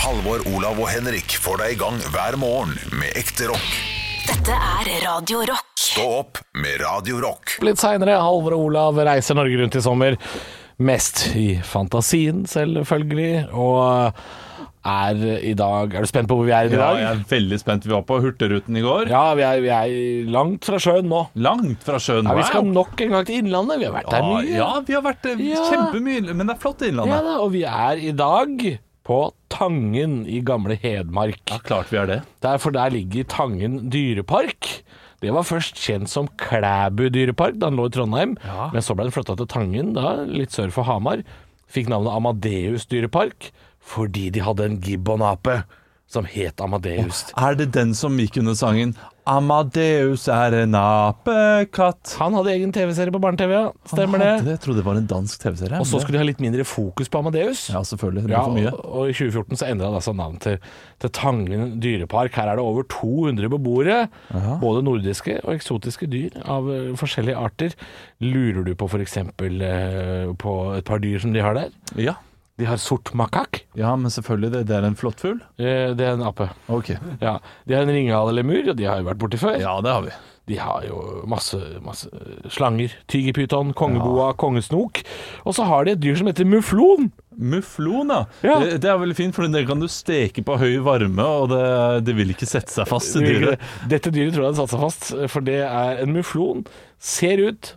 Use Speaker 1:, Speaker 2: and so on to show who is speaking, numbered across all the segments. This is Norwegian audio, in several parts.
Speaker 1: Halvor, Olav og Henrik får deg i gang hver morgen med ekte rock.
Speaker 2: Dette er Radio Rock.
Speaker 1: Stå opp med Radio Rock.
Speaker 3: Litt seinere, Halvor og Olav reiser Norge rundt i sommer. Mest i fantasien, selvfølgelig. Og eh, er i dag Er du spent på hvor vi er i
Speaker 4: Ja,
Speaker 3: dag?
Speaker 4: jeg er veldig spent. Vi var på Hurtigruten i går.
Speaker 3: Ja, vi er, vi er langt fra sjøen nå.
Speaker 4: Langt fra sjøen.
Speaker 3: Ja, vi skal
Speaker 4: Wow.
Speaker 3: nok en gang til Innlandet. Vi har vært der
Speaker 4: ja,
Speaker 3: mye.
Speaker 4: ja, vi har vært eh,
Speaker 3: Ja.
Speaker 4: kjempemye, men det er flott i
Speaker 3: Ja
Speaker 4: Innlandet.
Speaker 3: da, og vi er i dag på Tangen i gamle Hedmark.
Speaker 4: Ja, klart vi er det.
Speaker 3: Der, for der ligger Tangen dyrepark. Det var først kjent som Klæbu dyrepark da den lå i Trondheim,
Speaker 4: Ja.
Speaker 3: men så ble den flytta til Tangen, da, litt sør for Hamar. Fikk navnet Amadeus dyrepark fordi de hadde en gibbonape som het Amadeus.
Speaker 4: Er det den som gikk under sangen 'Amadeus er en apekatt'?
Speaker 3: Han hadde egen TV-serie på barne-TV, ja. Stemmer det.
Speaker 4: Hadde Jeg trodde det var en dansk TV-serie.
Speaker 3: Og så
Speaker 4: men det-
Speaker 3: skulle de ha litt mindre fokus på Amadeus.
Speaker 4: Ja, selvfølgelig. Det blir
Speaker 3: Ja,
Speaker 4: for mye.
Speaker 3: og, og i 2014 så endra det altså navn til, til Tangen dyrepark. Her er det over 200 beboere. Både nordiske og eksotiske dyr av eh, forskjellige arter. Lurer du på f.eks. Uh, på et par dyr som de har der?
Speaker 4: Ja.
Speaker 3: De har sort makak.
Speaker 4: ja, men selvfølgelig. Det, det er en flott fugl.
Speaker 3: Eh, det er en ape.
Speaker 4: Ok.
Speaker 3: Ja. De har en ringhanelemur, og de har jo vært borti før.
Speaker 4: Ja, det har vi.
Speaker 3: De har jo masse, masse slanger. Tigerpyton, kongeboa, kongesnok. Og så har de et dyr som heter muflon.
Speaker 4: Muflon, ja.
Speaker 3: Ja.
Speaker 4: Det, det er veldig fint, for den kan du steke på høy varme, og det, det vil ikke sette seg fast i
Speaker 3: Det virker
Speaker 4: dyret.
Speaker 3: det. Dette dyret tror jeg hadde satt seg fast, for det er en muflon. Ser ut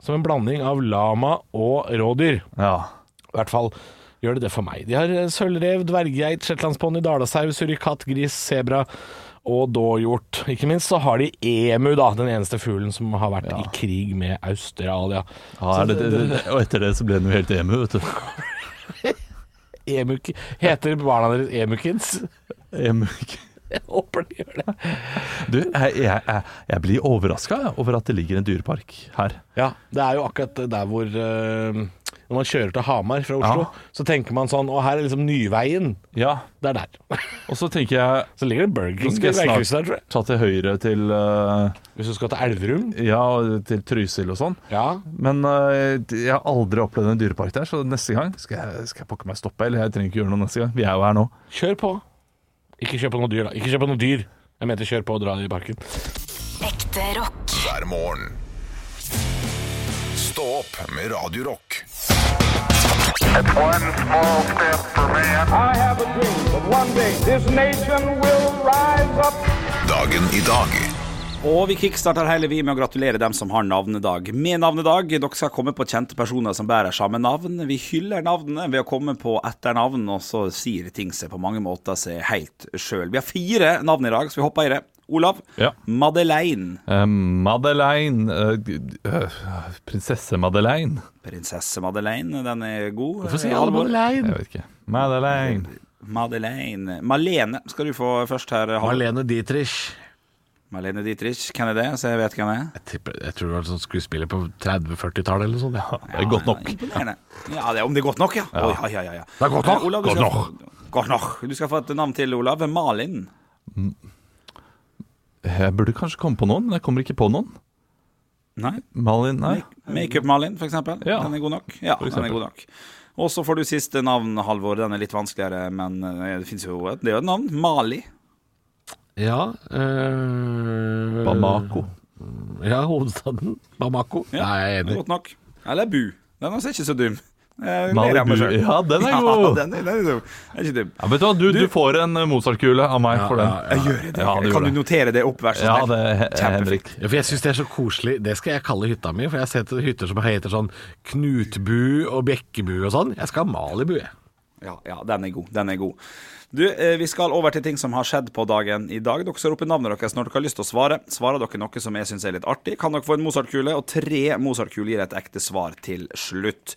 Speaker 3: som en blanding av lama og rådyr.
Speaker 4: Ja.
Speaker 3: I hvert fall gjør det det for meg. De har sølvrev, dverggeit, shetlandsponni, dalasau, surikatt, gris, sebra og dåhjort. Ikke minst så har de emu, da. Den eneste fuglen som har vært i krig med Australia.
Speaker 4: Ja, er det, det, det, og etter det så ble den jo helt emu, vet du.
Speaker 3: Emu heter barna deres emukids?
Speaker 4: Emu.
Speaker 3: Jeg håper de gjør det.
Speaker 4: Du, jeg, jeg, jeg, jeg blir overraska over at det ligger en dyrepark her.
Speaker 3: Ja, det er jo akkurat der hvor eh, Når man kjører til Hamar fra Oslo,
Speaker 4: Ja.
Speaker 3: så tenker man sånn Å, her er liksom Nyveien.
Speaker 4: Ja,
Speaker 3: Det er der.
Speaker 4: og så tenker jeg
Speaker 3: Så ligger det Burger
Speaker 4: Nå
Speaker 3: King
Speaker 4: skal
Speaker 3: ved
Speaker 4: jeg
Speaker 3: veikrysset der, tror jeg.
Speaker 4: snart ta til høyre til, eh,
Speaker 3: Hvis du skal til Elverum.
Speaker 4: ja, til Trysil og sånn.
Speaker 3: Ja.
Speaker 4: Men eh, jeg har aldri opplevd en dyrepark der, så neste gang skal jeg, skal jeg pokker meg stoppe. Eller jeg trenger ikke gjøre noe neste gang. Vi er jo her nå.
Speaker 3: Kjør på. Ikke kjør på noe dyr, da. Ikke kjør på noe dyr. Jeg mente kjør på og dra i parken.
Speaker 2: Ekte rock.
Speaker 1: Hver morgen. Stå opp med Radio Rock.
Speaker 5: One small step for man.
Speaker 6: I have a dream that one day this nation will rise up.
Speaker 1: Dagen i dag.
Speaker 7: Og vi kickstarter hele vi med å gratulere dem som har navnedag. Med navnedag, dere skal komme på kjente personer som bærer samme navn. Vi hyller navnene ved å komme på etternavn, og så sier ting seg på mange måter seg helt sjøl. Vi har fire navn i dag, så vi hopper i det. Olav.
Speaker 4: Ja.
Speaker 7: Madeleine.
Speaker 4: Eh, Madeleine eh, g- øh, Prinsesse Madeleine.
Speaker 7: Prinsesse Madeleine, den er god. Hvorfor
Speaker 4: Jeg vet ikke. Madeleine.
Speaker 7: Madeleine. Malene skal du få først her. Halvor.
Speaker 3: Marlene Dietrich.
Speaker 7: Malene Dietrich. Hvem er det? Så jeg vet hvem det er.
Speaker 3: Jeg, tipper, jeg tror det var en sånn skuespiller på 30-40-tallet eller noe sånt. Ja.
Speaker 4: Det er godt nok.
Speaker 7: Imponerende. Ja, det er om det er godt nok, ja. Oi, ja, ja, ja, ja.
Speaker 3: Det er godt nok.
Speaker 7: Eh, Olav, du
Speaker 3: Godt
Speaker 7: skal, Godt nok. Du skal få et navn til, Olav. Malin.
Speaker 4: Jeg burde kanskje komme på noen, men jeg kommer ikke på noen.
Speaker 7: Nei.
Speaker 4: Malin, nei.
Speaker 7: Makeup-Malin, for eksempel.
Speaker 4: Ja.
Speaker 7: Den er god nok. Ja, den er
Speaker 4: eksempel.
Speaker 7: god nok. Og så får du siste navn, Halvor. Den er litt vanskeligere, men eh, det fins jo et, det er jo et navn. Mali.
Speaker 3: ja øh,
Speaker 4: Bamako.
Speaker 3: Ja, hovedstaden. Bamako.
Speaker 7: Ja,
Speaker 3: Nei, jeg er enig.
Speaker 7: Godt nok. Eller Bu. Den er altså ikke så dum. Eh,
Speaker 4: Mali
Speaker 7: ler jeg meg
Speaker 4: Bu.
Speaker 7: selv.
Speaker 4: Ja, den er
Speaker 7: Ja,
Speaker 4: god.
Speaker 7: den er, den er dum. Den er ikke dum.
Speaker 4: Ja, vet du hva, du, du får en eh, Mozart-kule av meg for den.
Speaker 7: Jeg gjør det.
Speaker 4: Ja, du
Speaker 7: kan
Speaker 4: gjorde
Speaker 7: du notere det opp, vær så
Speaker 4: Ja,
Speaker 7: snill?
Speaker 4: det er Henrik.
Speaker 3: Ja, for jeg syns det er så koselig. Det skal jeg kalle hytta mi. For jeg har sett hytter som heter sånn Knutbu og Bekkebu og sånn. Jeg skal ha Malibu, jeg.
Speaker 7: Ja, ja, den er god. Den er god. Du, eh, Vi skal over til ting som har skjedd på dagen i dag. Dere skal rope navnet deres når dere har lyst til å svare. Svarer dere noe som jeg syns er litt artig, kan dere få en Mozart-kule, og tre Mozart-kuler gir et ekte svar til slutt.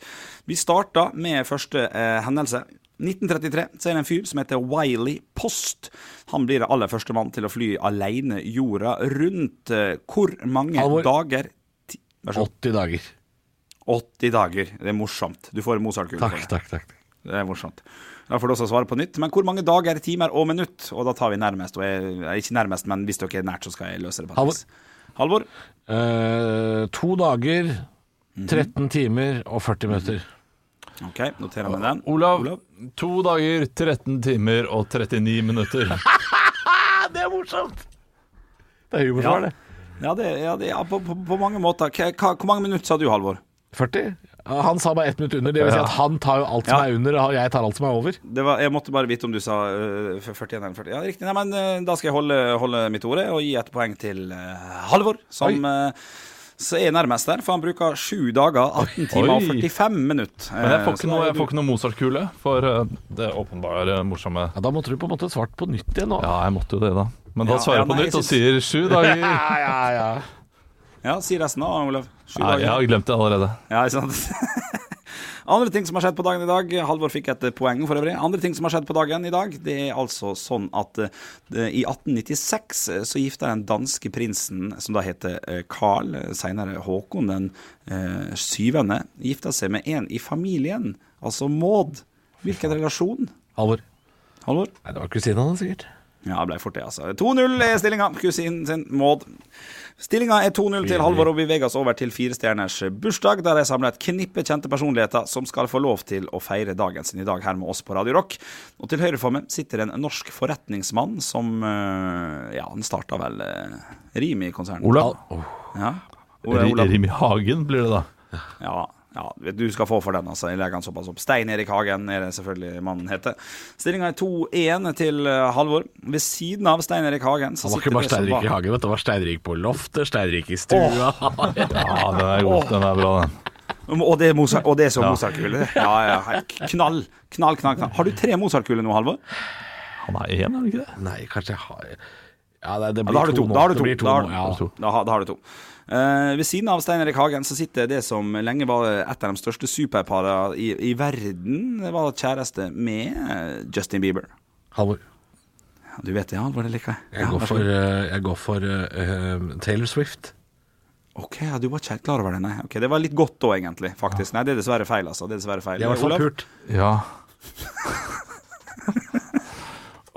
Speaker 7: Vi starter med første eh, hendelse. 1933 så er det en fyr som heter Wiley Post. Han blir aller første mann til å fly alene jorda rundt. Eh, Hvor mange
Speaker 3: Halvor.
Speaker 7: dager ti- Vær så god.
Speaker 3: 80 dager.
Speaker 7: 80 dager. Det er morsomt. Du får en Mozart-kule. for
Speaker 3: Takk,
Speaker 7: det.
Speaker 3: takk, takk.
Speaker 7: Det er morsomt. Da får du også svare på nytt. Men hvor mange dager, timer og minutt? Og da tar vi nærmest. Og jeg, eh, ikke nærmest, men hvis dere er nært, så skal jeg løse det på et
Speaker 3: Halvor.
Speaker 7: vis. Halvor.
Speaker 3: Eh, to dager, 13 timer og 40 minutter.
Speaker 7: OK, noterer jeg meg den.
Speaker 4: Olav, to dager, 13 timer og 39 minutter.
Speaker 3: Det er morsomt! Det er humorsvar, det.
Speaker 7: Ja, det, ja, det, ja på, på, på mange måter. Hva, hva, hvor mange minutter sa du, Halvor?
Speaker 3: 40? Han sa bare ett minutt under. Det vil si
Speaker 4: Ja.
Speaker 3: at han tar jo alt som
Speaker 7: Ja.
Speaker 3: er under, og jeg tar alt som er over.
Speaker 7: Det var, jeg måtte bare vite om du sa øh, 41 eller 40. Ja, riktig. Nei, men øh, da skal jeg holde, holde mitt ord og gi et poeng til øh, Halvor, som øh, så er nærmest der, for han bruker 7 dager, 18 timer og
Speaker 4: Oi.
Speaker 7: 45 minutter.
Speaker 4: Men jeg
Speaker 7: Eh,
Speaker 4: får
Speaker 7: så
Speaker 4: ikke
Speaker 7: da
Speaker 4: noe,
Speaker 7: er
Speaker 4: jeg får ikke noe Mozart-kule for eh, det åpenbare morsomme
Speaker 3: Ja, da måtte du på en måte svart på nytt igjen nå.
Speaker 4: Ja, jeg måtte jo det, da. Men da
Speaker 7: Ja,
Speaker 4: svarer
Speaker 7: ja,
Speaker 4: jeg på
Speaker 7: nei,
Speaker 4: nytt
Speaker 7: jeg
Speaker 4: og sier sju dager.
Speaker 3: Ja, ja, ja.
Speaker 7: du- Ja, si resten da, Olav. 7
Speaker 4: Nei, jeg
Speaker 7: dager.
Speaker 4: har glemt det allerede.
Speaker 7: Ja, ikke sant? Andre ting som har skjedd på dagen i dag Halvor fikk et poeng for øvrig. Andre ting som har skjedd på dagen i dag, det er altså sånn at eh, i 1896 så gifta den danske prinsen, som da heter eh, Carl, eh, senere Håkon den eh, syvende, gifta seg med en i familien, altså Maud. Hvilken relasjon?
Speaker 3: Halvor.
Speaker 7: Halvor?
Speaker 3: Nei, det var kusina hans, sikkert.
Speaker 7: Ja, det ble fort det, altså. 2-0 er stillinga. Kusinen sin Maud. Stillinga er 2-0 til Halvor, og vi veger oss over til firestjerners bursdag, der jeg samler et knippe kjente personligheter som skal få lov til å feire dagen sin i dag her med oss på Radio Rock. Og til høyre for meg sitter en norsk forretningsmann som eh, Ja, han starta vel uh, Rimi-konsernet.
Speaker 4: Olav.
Speaker 7: Ja. Ole,
Speaker 4: Ri-
Speaker 7: Olav.
Speaker 4: Rim i Hagen blir det, da.
Speaker 7: Ja, ja, vet du du skal få for den, altså. Jeg legger den såpass opp. Stein Erik Hagen er det selvfølgelig mannen heter. Stillinga er 2-1 til eh, Halvor. Ved siden av Stein Erik Hagen så
Speaker 3: Han var
Speaker 7: sitter
Speaker 3: ikke bare
Speaker 7: det som
Speaker 3: steinrik i
Speaker 7: var
Speaker 3: hagen, vet du. Det var steinrik på loftet, steinrik i stua.
Speaker 4: Ja, den er god. Den er bra, den.
Speaker 7: Og det er, Mozart, og det er så Mozart-kule. Ja, ja, hei. knall, knall, knall, knall. Har du tre Mozart-kuler nå, Halvor?
Speaker 4: Han er én, er han ikke det?
Speaker 3: Nei, kanskje jeg har Ja, det, det
Speaker 7: Ja, da
Speaker 3: blir
Speaker 7: har du to.
Speaker 3: nå.
Speaker 7: Da har du
Speaker 3: Det
Speaker 7: to.
Speaker 3: blir
Speaker 7: Da har-
Speaker 3: nå, ja.
Speaker 7: Da, har- da har du to. Eh, ved siden av Stein Erik Hagen så sitter det som lenge var et av de største superparene i, i verden, Det var kjæreste med eh, Justin Bieber.
Speaker 3: Halvor.
Speaker 7: Ja, Du vet det, Halvor? Det liker jeg.
Speaker 3: Jeg
Speaker 7: Ja,
Speaker 3: går
Speaker 7: vær så
Speaker 3: for,
Speaker 7: god.
Speaker 3: eh, jeg går for eh, eh, Taylor Swift.
Speaker 7: Ok, ja, du var ikke helt klar over det, nei. Ok, Det var litt godt da, egentlig. faktisk. Nei, det er dessverre feil, altså. Det er dessverre feil.
Speaker 3: Det er i hvert
Speaker 7: Olav?
Speaker 3: fall pult.
Speaker 4: Ja.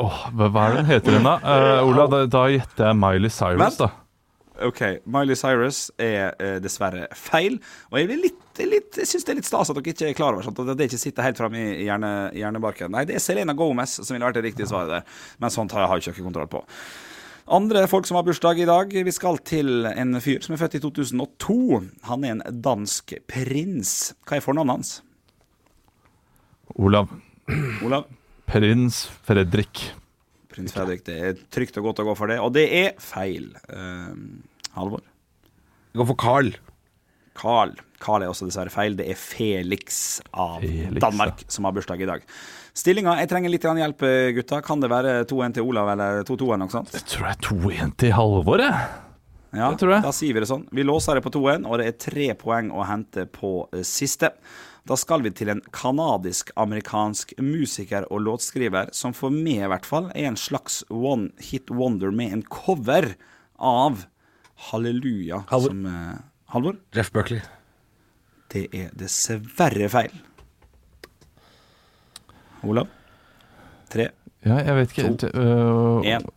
Speaker 4: Åh, hva hva er det den heter igjen, da? Eh, Olav, da, da gjetter jeg Miley Cyrus,
Speaker 7: Vent.
Speaker 4: da.
Speaker 7: Ok, Miley Cyrus er eh, dessverre feil. Og jeg, blir litt, litt, jeg syns det er litt stas at dere ikke er klar over sånt. At det ikke sitter helt framme i hjerne, hjernebarken. Nei, det er Selena Gomez som ville vært det riktige svaret der. Men sånt har jeg har jeg ikke kontroll på. Andre folk som har bursdag i dag. Vi skal til en fyr som er født i 2002. Han er en dansk prins. Hva er fornavnet hans?
Speaker 4: Olav.
Speaker 7: Olav?
Speaker 4: Prins Fredrik.
Speaker 7: Prins Fredrik. Det er trygt og godt å gå for det. Og det er feil. Eh, Halvor?
Speaker 3: Jeg går for Carl.
Speaker 7: Carl. Carl er også dessverre feil. Det er Felix av
Speaker 4: Felix,
Speaker 7: Danmark som har bursdag i dag. Stillinga Jeg trenger litt grann hjelp, gutta. Kan det være 2-1 til Olav eller 2-2 eller noe sånt?
Speaker 4: Jeg tror jeg er 2-1 til Halvor, jeg.
Speaker 7: Ja,
Speaker 4: det tror jeg.
Speaker 7: Da sier vi det sånn. Vi låser det på 2-1, og det er tre poeng å hente på eh, siste. Da skal vi til en kanadisk-amerikansk musiker og låtskriver som for meg i hvert fall er en slags one hit wonder med en cover av Halleluja.
Speaker 3: Halvor.
Speaker 7: Som, eh, Halvor?
Speaker 3: Jeff Buckley.
Speaker 7: Det er dessverre feil. Olav. Tre,
Speaker 4: Ja, jeg vet ikke.
Speaker 7: To.
Speaker 4: helt, øh,
Speaker 7: én,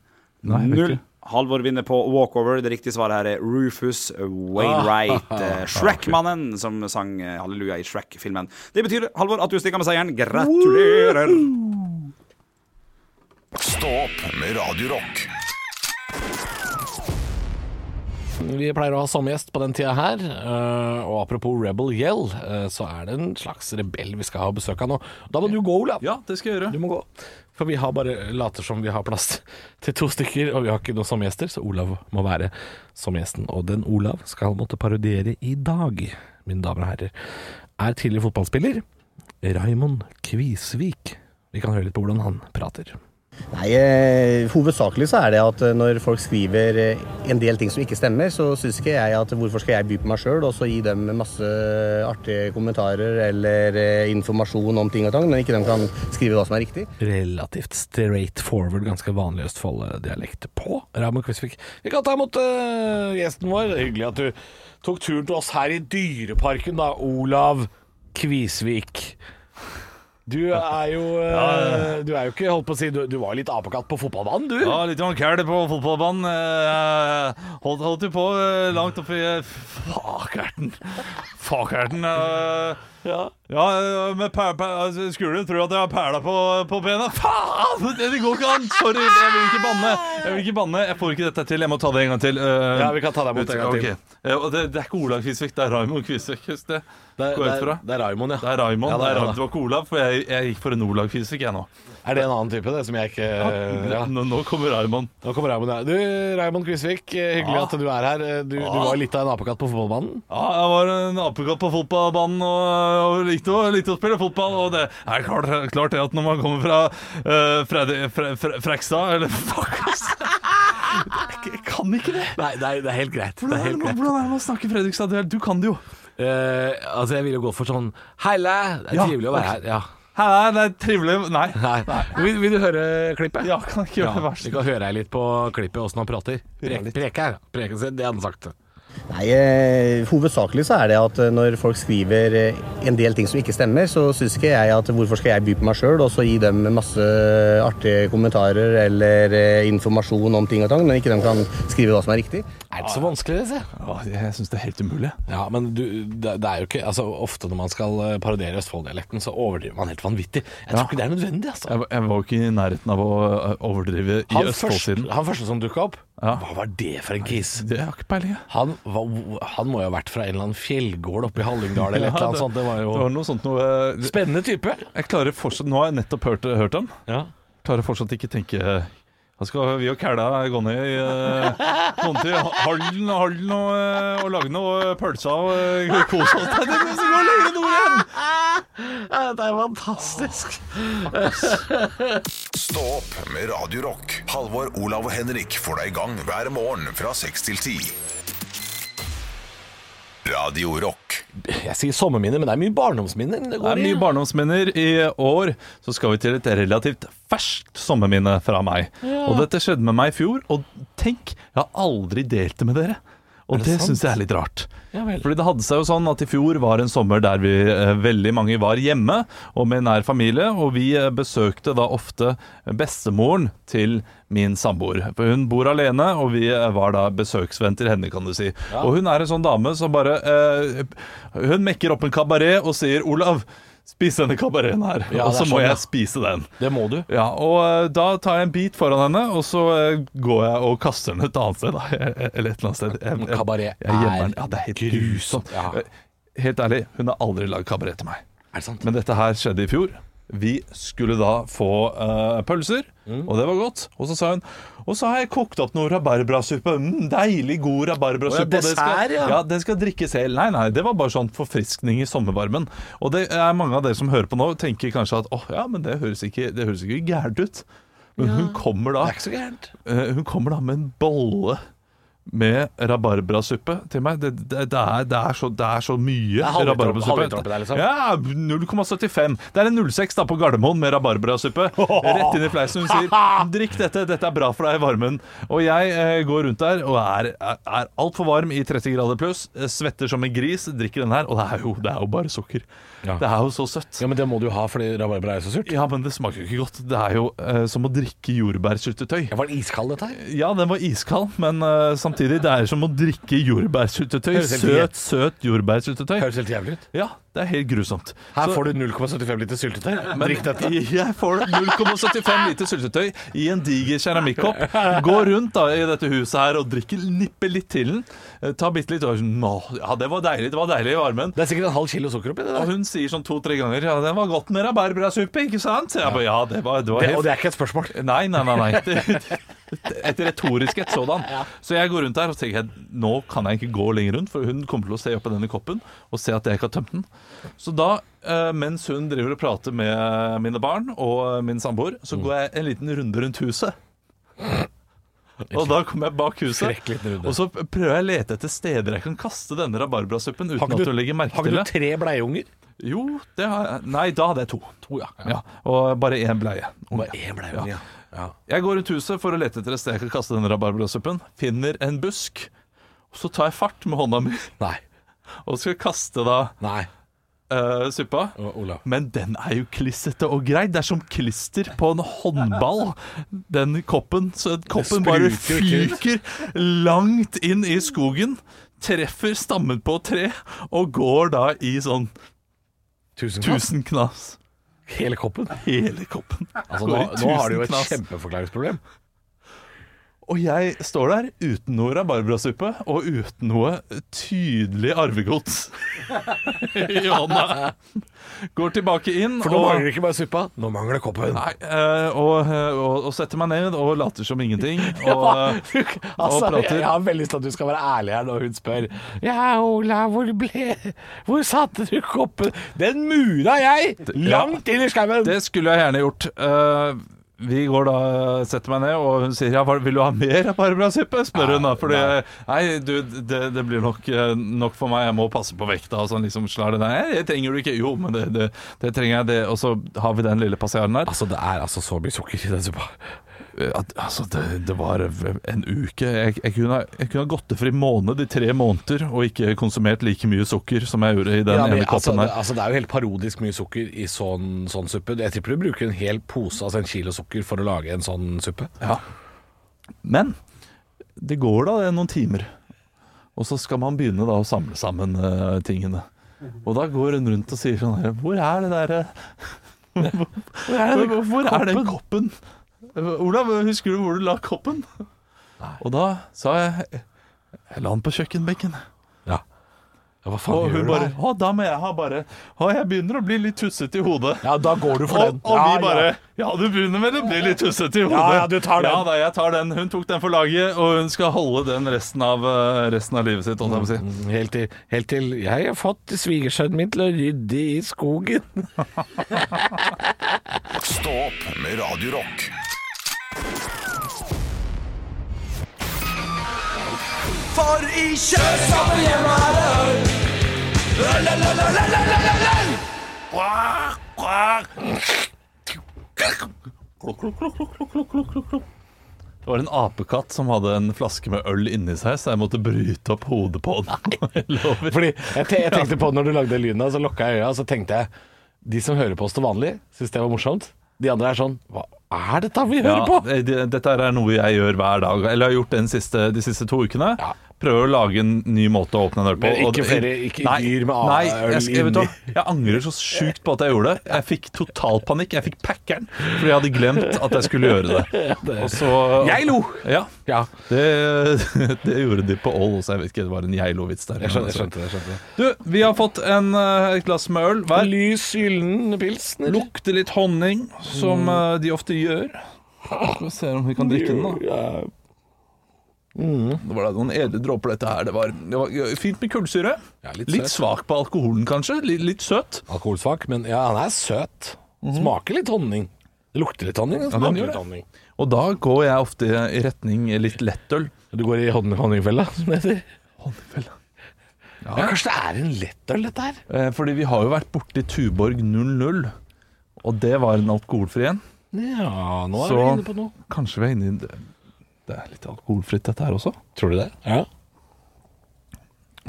Speaker 4: Nei, jeg vet
Speaker 7: null.
Speaker 4: ikke.
Speaker 7: Halvor vinner på walkover. Det riktige svaret her er Rufus Wainwright.
Speaker 4: Ah.
Speaker 7: eh, Shrek-mannen som sang eh, halleluja i Shrek-filmen. Det betyr, Halvor, at du stikker med seieren. Gratulerer!
Speaker 1: Stå opp med Radio Rock.
Speaker 3: Vi pleier å ha sommergjest på den tida her. eh, Og apropos Rebel Yell, eh, så er det en slags rebell vi skal ha besøk av nå. Da må du gå, Olav.
Speaker 4: Ja, det skal jeg gjøre.
Speaker 3: Du må gå. For vi har bare later som vi har plass til to stykker, og vi har ikke noen sommergjester, så Olav må være sommergjesten. Og den Olav skal måtte parodiere i dag, mine damer og herrer, er tidligere fotballspiller Raymond Kvisvik. Vi kan høre litt på hvordan han prater.
Speaker 8: Nei, eh, Hovedsakelig så er det at eh, når folk skriver eh, en del ting som ikke stemmer, så syns ikke jeg at hvorfor skal jeg by på meg sjøl og så gi dem masse artige kommentarer eller eh, informasjon om ting og tang, når ikke de kan skrive hva som er riktig.
Speaker 3: Relativt straight forward, ganske vanlig Østfold-dialekt på Raymond Kvisvik. Vi kan ta imot eh, gjesten vår. Hyggelig at du tok turen til oss her i Dyreparken, da, Olav Kvisvik. Du er jo eh, Du er jo ikke holdt på å si Du, du var jo litt apekatt på fotballbanen, du.
Speaker 4: Ja, litt kæl på fotballbanen. Eh, Holdt, holdt du på eh, langt oppi eh, Fakerten. Fakerten. eh,
Speaker 3: Ja.
Speaker 4: Ja, øh, men per, per, altså, Skulle du tro at jeg har perla på, på bena? Faen! Det det går ikke an! Sorry, jeg vil ikke banne. Jeg vil ikke banne, jeg får ikke dette til. Jeg må ta det en gang til. Øh,
Speaker 3: Ja, vi kan ta deg imot en gang til.
Speaker 4: ok. Eh, og det, det er ikke Olav Kvisvik, det er Raymond Kvisvik. husk Det
Speaker 3: Det, er-
Speaker 4: Går jeg
Speaker 3: det,
Speaker 4: ut
Speaker 3: er-
Speaker 4: fra.
Speaker 3: det er Raymond, ja.
Speaker 4: Det er Raymond.
Speaker 3: Ja,
Speaker 4: det,
Speaker 3: det er
Speaker 4: er,
Speaker 3: han,
Speaker 4: det var ikke Olav, for jeg, jeg gikk for en Olav Kvisvik, jeg nå. Eh,
Speaker 3: Er det en annen type, det, som jeg ikke ja.
Speaker 4: Nå, nå kommer Raymond.
Speaker 3: Nå kommer Raymond, ja. Du, Raymond Kvisvik, eh, hyggelig
Speaker 4: Ja.
Speaker 3: at du er her. Eh, Du, du var litt av en apekatt på fotballbanen.
Speaker 4: Ja, jeg var en apekatt på fotballbanen og, og likte, å, likte å spille fotball. Og det er klart, klart det at når man kommer fra uh, Frekstad Eller fuck, ass! Jeg jeg kan ikke det.
Speaker 3: Nei, nei, det er helt greit. Det er
Speaker 4: Hvordan er det
Speaker 3: helt
Speaker 4: man-
Speaker 3: greit.
Speaker 4: hvordan er det man snakker Fredrikstad-duell? Du kan det jo.
Speaker 3: Eh, altså, jeg ville jo gått for sånn Heile! Det er
Speaker 4: Ja,
Speaker 3: trivelig å være her. Ja.
Speaker 4: Her er det trivelig Nei.
Speaker 3: Nei. Vil, vil du høre klippet?
Speaker 4: Ja, kan jeg ikke gjøre det
Speaker 3: Ja,
Speaker 4: verst.
Speaker 3: vi kan høre her litt på klippet åssen han prater. Preke, preke her. Preke, se, det hadde han sagt.
Speaker 8: Nei, eh, Hovedsakelig så er det at eh, når folk skriver eh, en del ting som ikke stemmer, så syns ikke jeg at hvorfor skal jeg by på meg sjøl og så gi dem masse artige kommentarer eller eh, informasjon om ting og tang, når ikke de kan skrive hva som er riktig.
Speaker 3: Er det så vanskelig, det?
Speaker 4: Å, jeg syns det er helt umulig.
Speaker 3: Ja, men du, det, det er jo ikke Altså, ofte når man skal eh, parodiere Østfold-dialekten, så overdriver man helt vanvittig. Jeg tror ikke det er nødvendig, altså.
Speaker 4: Jeg, var- jeg var jo ikke i nærheten av å eh, overdrive i
Speaker 3: Han, første,
Speaker 4: Østfold-siden.
Speaker 3: han første som dukka opp,
Speaker 4: Ja.
Speaker 3: hva var det for en kis?
Speaker 4: Det har jeg ikke peiling, jeg.
Speaker 3: Han, var- han må jo ha vært fra en eller annen fjellgård oppe i Hallingdal eller et eller annet sånt. Det var
Speaker 4: det
Speaker 3: jo
Speaker 4: var noe sånt noe eh,
Speaker 3: Spennende type.
Speaker 4: Jeg klarer fortsatt Nå har jeg nettopp hørt, hørt ham.
Speaker 3: Ja.
Speaker 4: klarer fortsatt ikke tenke Da skal vi og Kæla gå ned i eh, noen til Halden, Halden og, eh, og lage noe pølser og eh, kose oss. Nei, Det må gå lenger nord igjen!
Speaker 3: Det er fantastisk.
Speaker 1: Stå opp med Radio Rock. Halvor, Olav og Henrik får deg i gang hver morgen fra 6 til 10. Radio Rock.
Speaker 3: Jeg sier sommerminner, men det er mye barndomsminner. Det
Speaker 4: Det
Speaker 3: går
Speaker 4: er
Speaker 3: i.
Speaker 4: mye barndomsminner i år. Så skal vi til et relativt ferskt sommerminne fra meg. Og dette skjedde med meg i fjor, og tenk, jeg har aldri delt det med dere. Og det, synes syns jeg er litt rart.
Speaker 3: Ja vel.
Speaker 4: Fordi det hadde seg jo sånn at i fjor var en sommer der vi eh, veldig mange var hjemme og med nær familie, og vi eh, besøkte da ofte bestemoren til min samboer. For hun bor alene, og vi eh, var da besøksvenn til henne, kan du si. Og hun er en sånn dame som bare eh, Hun mekker opp en kabaret og sier 'Olav, spis denne kabareten her',
Speaker 3: Ja,
Speaker 4: og
Speaker 3: det er
Speaker 4: så må
Speaker 3: sånn, ja.
Speaker 4: jeg spise den.
Speaker 3: Det må du.
Speaker 4: Ja, og eh, da tar jeg en bit foran henne, og så eh, går jeg og kaster den et annet sted. Da. Eller et eller annet sted. Jeg,
Speaker 3: Men
Speaker 4: jeg-
Speaker 3: kabaret
Speaker 4: jeg gjemmer
Speaker 3: er
Speaker 4: den. Ja, det er helt
Speaker 3: grusomt,
Speaker 4: grusomt.
Speaker 3: ja.
Speaker 4: Eh, Helt ærlig, hun har aldri lagd kabaret til meg.
Speaker 3: Er det sant?
Speaker 4: Men dette her skjedde i fjor. Vi skulle da få eh, pølser,
Speaker 3: Mm.
Speaker 4: og det var godt. Og så sa hun Og så har jeg kokt opp noe rabarbrasuppe. Mm, deilig, god rabarbrasuppe.
Speaker 3: Å ja,
Speaker 4: og det skal-
Speaker 3: dessert, ja.
Speaker 4: ja, den skal drikkes hel. Nei, nei, det var bare sånn forfriskning i sommervarmen. Og det er mange av dere som hører på nå, tenker kanskje at åh, ja, men det høres ikke, det høres ikke gærent ut. Men hun kommer
Speaker 3: Det
Speaker 4: da
Speaker 3: er ikke så gærent.
Speaker 4: Eh, Hun kommer da med en bolle med rabarbrasuppe til meg. Det, det, det, er, det, er, så, det er så
Speaker 3: er
Speaker 4: mye
Speaker 3: halvliter-
Speaker 4: rabarbrasuppe.
Speaker 3: halvliter oppi der, liksom.
Speaker 4: Ja, 0,75. Det er en 06 da på Gardermoen med rabarbrasuppe. Rett inn i fleisen. Hun sier 'drikk dette, dette er bra for deg i varmen'. Og jeg eh, går rundt der og er, er, er altfor varm i 30 grader pluss. eh, Svetter som en gris, drikker den her. Og det er jo, det er jo bare sukker.
Speaker 3: Ja.
Speaker 4: Det er jo så søtt.
Speaker 3: Ja, men det må du ha fordi rabarbra er så surt.
Speaker 4: Ja, men det smaker jo ikke godt. Det er jo eh, som å drikke jordbærsyltetøy.
Speaker 3: Jeg var den iskald, dette her?
Speaker 4: Ja, den var iskald, men eh, samtidig det er som å drikke jordbærsyltetøy.
Speaker 3: Høres helt
Speaker 4: Søt, søt jordbærsyltetøy.
Speaker 3: Høres helt jævlig ut.
Speaker 4: Ja, det er helt grusomt.
Speaker 3: Her
Speaker 4: Så-
Speaker 3: får du 0,75 liter syltetøy. Drikk dette.
Speaker 4: Jeg får 0,75 liter syltetøy i en diger keramikkopp. Går rundt da i dette huset her og drikker, nipper litt til den. Eh, Tar bitte litt og sånn, «Nå, Ja, det var deilig. Det var deilig i varmen.
Speaker 3: Det er sikkert en halv kilo sukker oppi det
Speaker 4: Og
Speaker 3: der.
Speaker 4: hun sier sånn to-tre ganger Ja, det var godt med rabarbrasuppe, ikke sant? Jeg bare, ja, det var, det var
Speaker 3: Det,
Speaker 4: helt
Speaker 3: og det er ikke et spørsmål.
Speaker 4: Nei, nei, nei, nei. Det- det- Et retorisk et sådan. Så jeg går rundt der og tenker at nå kan jeg ikke gå lenger rundt, for hun kommer til å se opp i denne koppen og se at jeg ikke har tømt den. Så da, eh, mens hun driver og prater med mine barn og min samboer, så går jeg en liten runde rundt huset. Og da kommer jeg bak huset,
Speaker 3: Frekk Mm. liten runde.
Speaker 4: og så prøver jeg å lete etter steder jeg kan kaste denne rabarbrasuppen uten
Speaker 3: Har
Speaker 4: at
Speaker 3: ikke
Speaker 4: hun legger merke
Speaker 3: har
Speaker 4: til
Speaker 3: ikke
Speaker 4: det.
Speaker 3: du tre bleieunger?
Speaker 4: Jo, det har jeg. Nei, da hadde jeg to.
Speaker 3: To, Oh, ja.
Speaker 4: Ja, og bare én bleie.
Speaker 3: Bare én bleiunge, ja. ja.
Speaker 4: Jeg går rundt huset for å lete etter et sted jeg kan kaste denne rabarbrasuppen. Finner en busk. Så tar jeg fart med hånda mi
Speaker 3: Nei.
Speaker 4: og skal kaste da
Speaker 3: Nei.
Speaker 4: eh, suppa.
Speaker 3: O- Olav.
Speaker 4: Men den er jo klissete og grei. Det er som klister på en håndball. Den koppen. Så koppen bare
Speaker 3: spruter jo
Speaker 4: fyker langt inn i skogen. Treffer stammen på et tre og går da i sånn
Speaker 3: Tusen takk.
Speaker 4: Tusen knas.
Speaker 3: Hele koppen.
Speaker 4: Hele koppen.
Speaker 3: Altså, nå,
Speaker 4: Går i
Speaker 3: nå har du jo
Speaker 4: tusen
Speaker 3: et
Speaker 4: knas.
Speaker 3: kjempeforklaringsproblem.
Speaker 4: Og jeg står der uten noe rabarbrasuppe og uten noe tydelig arvegods i hånda. Går tilbake inn
Speaker 3: For nå
Speaker 4: og
Speaker 3: mangler ikke bare suppa, nå mangler koppen.
Speaker 4: Nei, eh, og, og, og setter meg ned og later som ingenting. Og, eh,
Speaker 3: altså,
Speaker 4: prater.
Speaker 3: jeg har veldig lyst til at du skal være ærlig her når hun spør Ja, Ola, hvor ble Hvor satte du koppen? Den mura jeg! Langt inn i skauen!
Speaker 4: Det skulle jeg gjerne gjort. Eh, vi går da, setter meg ned, og hun sier ja, hva- vil du ha mer rabarbrasuppe? spør hun da.
Speaker 3: Ah,
Speaker 4: Fordi nei, du, det, det blir nok, eh, nok for meg, jeg må passe på vekta. Og sånn liksom slår det Nei, det trenger du ikke. Jo, men det, det, det trenger jeg. det Og så har vi den lille passiaren der.
Speaker 3: Altså, det er altså så mye sukker i den suppa.
Speaker 4: Eh, At, altså, det, det var en uke. Jeg, jeg, kunne, ha- jeg kunne ha gått det for i måned, i tre måneder, og ikke konsumert like mye sukker som jeg gjorde i den
Speaker 3: Ja, men
Speaker 4: ene
Speaker 3: altså,
Speaker 4: koppen
Speaker 3: det,
Speaker 4: her.
Speaker 3: altså, det er jo helt parodisk mye sukker i sånn, sånn suppe. Jeg tipper du bruker en hel pose, altså en kilo sukker, for å lage en sånn suppe.
Speaker 4: Ja. Men det går da noen timer, og så skal man begynne da å samle sammen eh, tingene. Og da går hun rundt og sier sånn her Hvor er det derre Hvor er den koppen? Hvor er den koppen? Olav, husker du hvor du la koppen? Og da sa jeg Jeg la den på kjøkkenbenken.
Speaker 3: Ja. ja hva faen
Speaker 4: Og
Speaker 3: gjør
Speaker 4: hun
Speaker 3: du
Speaker 4: bare
Speaker 3: her?
Speaker 4: Å, da må jeg ha bare Å, jeg begynner å bli litt tussete i hodet.
Speaker 3: Ja, da går du for
Speaker 4: Og,
Speaker 3: den.
Speaker 4: og
Speaker 3: ja,
Speaker 4: vi bare
Speaker 3: ja.
Speaker 4: ja. du begynner med å bli litt tussete i hodet.
Speaker 3: Ja, ja, du tar den.
Speaker 4: Ja da, jeg tar den. Hun tok den for laget, og hun skal holde den resten av, eh, resten av livet sitt. holdt jeg på å Si.
Speaker 3: Mm, Helt til, helt til Jeg har fått svigersønnen min til å rydde i skogen.
Speaker 1: Stå opp med Radio Rock.
Speaker 4: Det var en apekatt som hadde en flaske med øl inni seg, så jeg måtte bryte opp hodet på den. Jeg lover.
Speaker 3: Fordi jeg, te jeg tenkte på det når du lagde lyden, av, så lukka jeg øya, og så tenkte jeg De som hører på oss til vanlig, syns det var morsomt. De andre er sånn Hva er dette vi hører
Speaker 4: Ja,
Speaker 3: på?
Speaker 4: det- det- dette her er noe jeg gjør hver dag, eller har gjort den siste, de siste to ukene.
Speaker 3: Ja.
Speaker 4: Prøver å lage en ny måte å åpne en øl på.
Speaker 3: Men
Speaker 4: og
Speaker 3: ikke
Speaker 4: det-
Speaker 3: flere- ikke
Speaker 4: nei,
Speaker 3: dyr med a-
Speaker 4: nei,
Speaker 3: øl
Speaker 4: jeg, skal- jeg, vet du hva,
Speaker 3: inni.
Speaker 4: jeg angrer så sjukt på at jeg gjorde det. Jeg fikk total panikk. Jeg fikk packeren fordi jeg hadde glemt at jeg skulle gjøre det. Og så,
Speaker 3: Jeg lo!
Speaker 4: Ja,
Speaker 3: Ja,
Speaker 4: det, det gjorde de på Ål også. Jeg vet ikke, det var en jeg-lo-vits der.
Speaker 3: jeg skjønte, jeg skjønte det. Jeg skjønte det.
Speaker 4: Du, vi har fått en, eh, et glass med øl hver.
Speaker 3: Lys, gyllen pilsner.
Speaker 4: Lukter litt honning, som
Speaker 3: Mm.
Speaker 4: eh, de ofte gjør. Skal vi se om vi kan drikke den, da.
Speaker 3: Ja.
Speaker 4: Det var da noen edle dråper dette her. Det var, det var fint med kullsyre.
Speaker 3: Ja, litt
Speaker 4: litt,
Speaker 3: søt.
Speaker 4: svak på alkoholen, kanskje. Litt, litt søt.
Speaker 3: Alkoholsvak, men ja, han er søt. Smaker litt honning. Det lukter litt honning. Mhm. det
Speaker 4: den
Speaker 3: smaker
Speaker 4: gjør
Speaker 3: litt
Speaker 4: det.
Speaker 3: honning.
Speaker 4: Og da går jeg ofte i retning litt lettøl.
Speaker 3: Du går i hon honningfella, som det heter. Ja. kanskje det er en lettøl, dette her.
Speaker 4: Eh, Fordi vi har jo vært borti Tuborg 00, og det var en alkoholfri en.
Speaker 3: Ja, nå er
Speaker 4: Så-
Speaker 3: vi inne på noe.
Speaker 4: Kanskje vi er inne i det. Det er litt alkoholfritt, dette her også.
Speaker 3: Tror du det? Ja.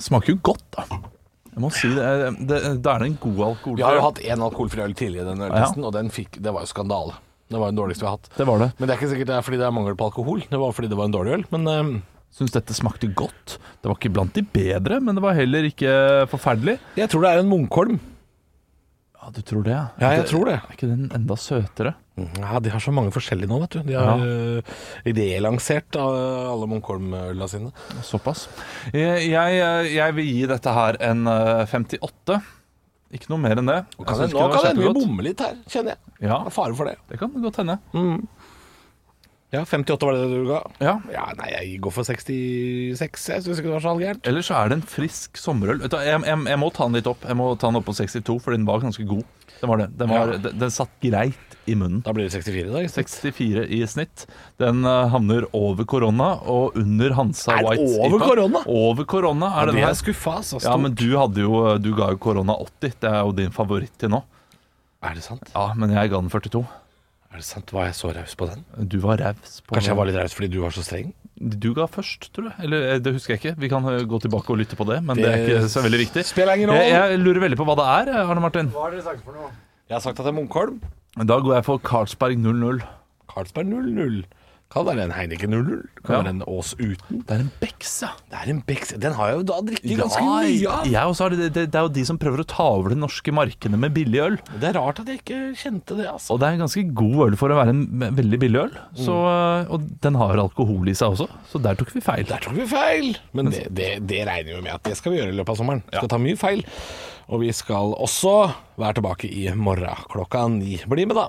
Speaker 4: Smaker jo godt, da. Jeg må si det. eh, det da er det en god alkoholfri
Speaker 3: Vi har jo hatt én alkoholfri øl tidligere i denne øltesten,
Speaker 4: Ja.
Speaker 3: og den fikk, det var jo skandale. Det var den dårligste vi har hatt.
Speaker 4: Det var det.
Speaker 3: Men det er ikke sikkert det er fordi det er mangel på alkohol, det var fordi det var en dårlig øl. Men ehm,
Speaker 4: Syns dette smakte godt. Det var ikke blant de bedre, men det var heller ikke forferdelig.
Speaker 3: jeg tror det er en Munkholm.
Speaker 4: Ja, du tror det?
Speaker 3: Ja, jeg tror det.
Speaker 4: Er ikke den enda søtere?
Speaker 3: Ja, De har så mange forskjellige nå, vet du. De har øh, relansert øh, alle Munkholm-øla sine.
Speaker 4: Såpass. Jeg, Eh, jeg, jeg vil gi dette her en eh, 58. Ikke noe mer enn det. Jeg
Speaker 3: Kan
Speaker 4: synes
Speaker 3: det, Altså, nå
Speaker 4: ikke det var
Speaker 3: kan det hende vi
Speaker 4: kjempegodt.
Speaker 3: bomme litt her, kjenner jeg.
Speaker 4: Ja.
Speaker 3: Det er fare for det.
Speaker 4: Det kan godt hende.
Speaker 3: Ja, 58 var det det du ga?
Speaker 4: Ja.
Speaker 3: Ja, Nei, jeg går for 66. Jeg syns ikke det var så halvgærent.
Speaker 4: Eller så er det en frisk sommerøl. Vet du, Jeg, jeg, jeg må ta den litt opp. Jeg må ta den opp på 62, for den var ganske god. Den, var det. den, var,
Speaker 3: Ja.
Speaker 4: den, den satt greit i munnen.
Speaker 3: Da blir det 64 i dag.
Speaker 4: 64 i snitt. Den eh, havner over korona og under Hansa
Speaker 3: Er det
Speaker 4: White.
Speaker 3: over korona?
Speaker 4: Over korona er den
Speaker 3: det
Speaker 4: her.
Speaker 3: er skuffa, altså.
Speaker 4: Ja, men du, hadde jo, eh, du ga jo korona 80. Det er jo din favoritt til nå.
Speaker 3: Er det sant?
Speaker 4: Ja, men jeg ga den 42.
Speaker 3: Er det sant? Var jeg så raus på den?
Speaker 4: Du var raus. på-
Speaker 3: Kanskje jeg var litt raus fordi du var så streng?
Speaker 4: Du ga først, tror jeg. Eller eh, det husker jeg ikke. Vi kan eh, gå tilbake og lytte på det, men det, er
Speaker 3: Det
Speaker 4: ikke så veldig viktig.
Speaker 3: spiller ingen rolle.
Speaker 4: jeg, jeg lurer veldig på hva det er, eh, Arne Martin.
Speaker 3: Jeg har sagt at det er Munkholm.
Speaker 4: Da går jeg for Carlsberg 00.
Speaker 3: Carlsberg 00. Kan være en Heineken 00, kan
Speaker 4: Ja.
Speaker 3: være en Ås uten.
Speaker 4: Det er en Bex, ja.
Speaker 3: Det er en Becks Den har jeg jo da drukket ganske
Speaker 4: Ja,
Speaker 3: mye av.
Speaker 4: jeg også har det, det, det er jo de som prøver å ta over det norske markedet med billig øl.
Speaker 3: Det er rart at jeg ikke kjente det, altså.
Speaker 4: Og det er en ganske god øl for å være en ve- veldig billig øl. Så,
Speaker 3: Mm.
Speaker 4: eh, og den har alkohol i seg også, så der tok vi feil.
Speaker 3: Der tok vi feil! Men det, det, det regner vi med at det skal vi gjøre i løpet av sommeren. Skal ta mye feil. Og vi skal også være tilbake i morgen klokka ni. Bli med, da!